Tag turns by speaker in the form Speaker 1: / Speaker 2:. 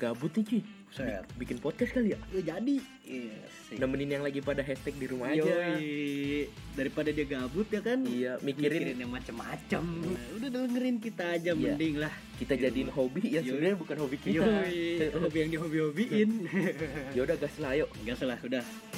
Speaker 1: Gabut nih cuy.
Speaker 2: Buset.
Speaker 1: Bi- Bikin podcast kali ya?
Speaker 2: Ya jadi. Iya sih.
Speaker 1: Nemenin yang lagi pada hashtag di rumah aja.
Speaker 2: Yoi. Iya. Daripada dia gabut ya kan.
Speaker 1: Iya, mikirin,
Speaker 2: yang macem-macem. Nah, udah dengerin kita aja
Speaker 1: Iya.
Speaker 2: mending lah.
Speaker 1: kita
Speaker 2: Di
Speaker 1: jadiin
Speaker 2: rumah.
Speaker 1: hobi ya
Speaker 2: Yoi.
Speaker 1: sebenarnya bukan hobi kita.
Speaker 2: Yoi. Hobi yang dihobi-hobiin.
Speaker 1: Ya udah gas lah ayo.
Speaker 2: Enggak salah, udah.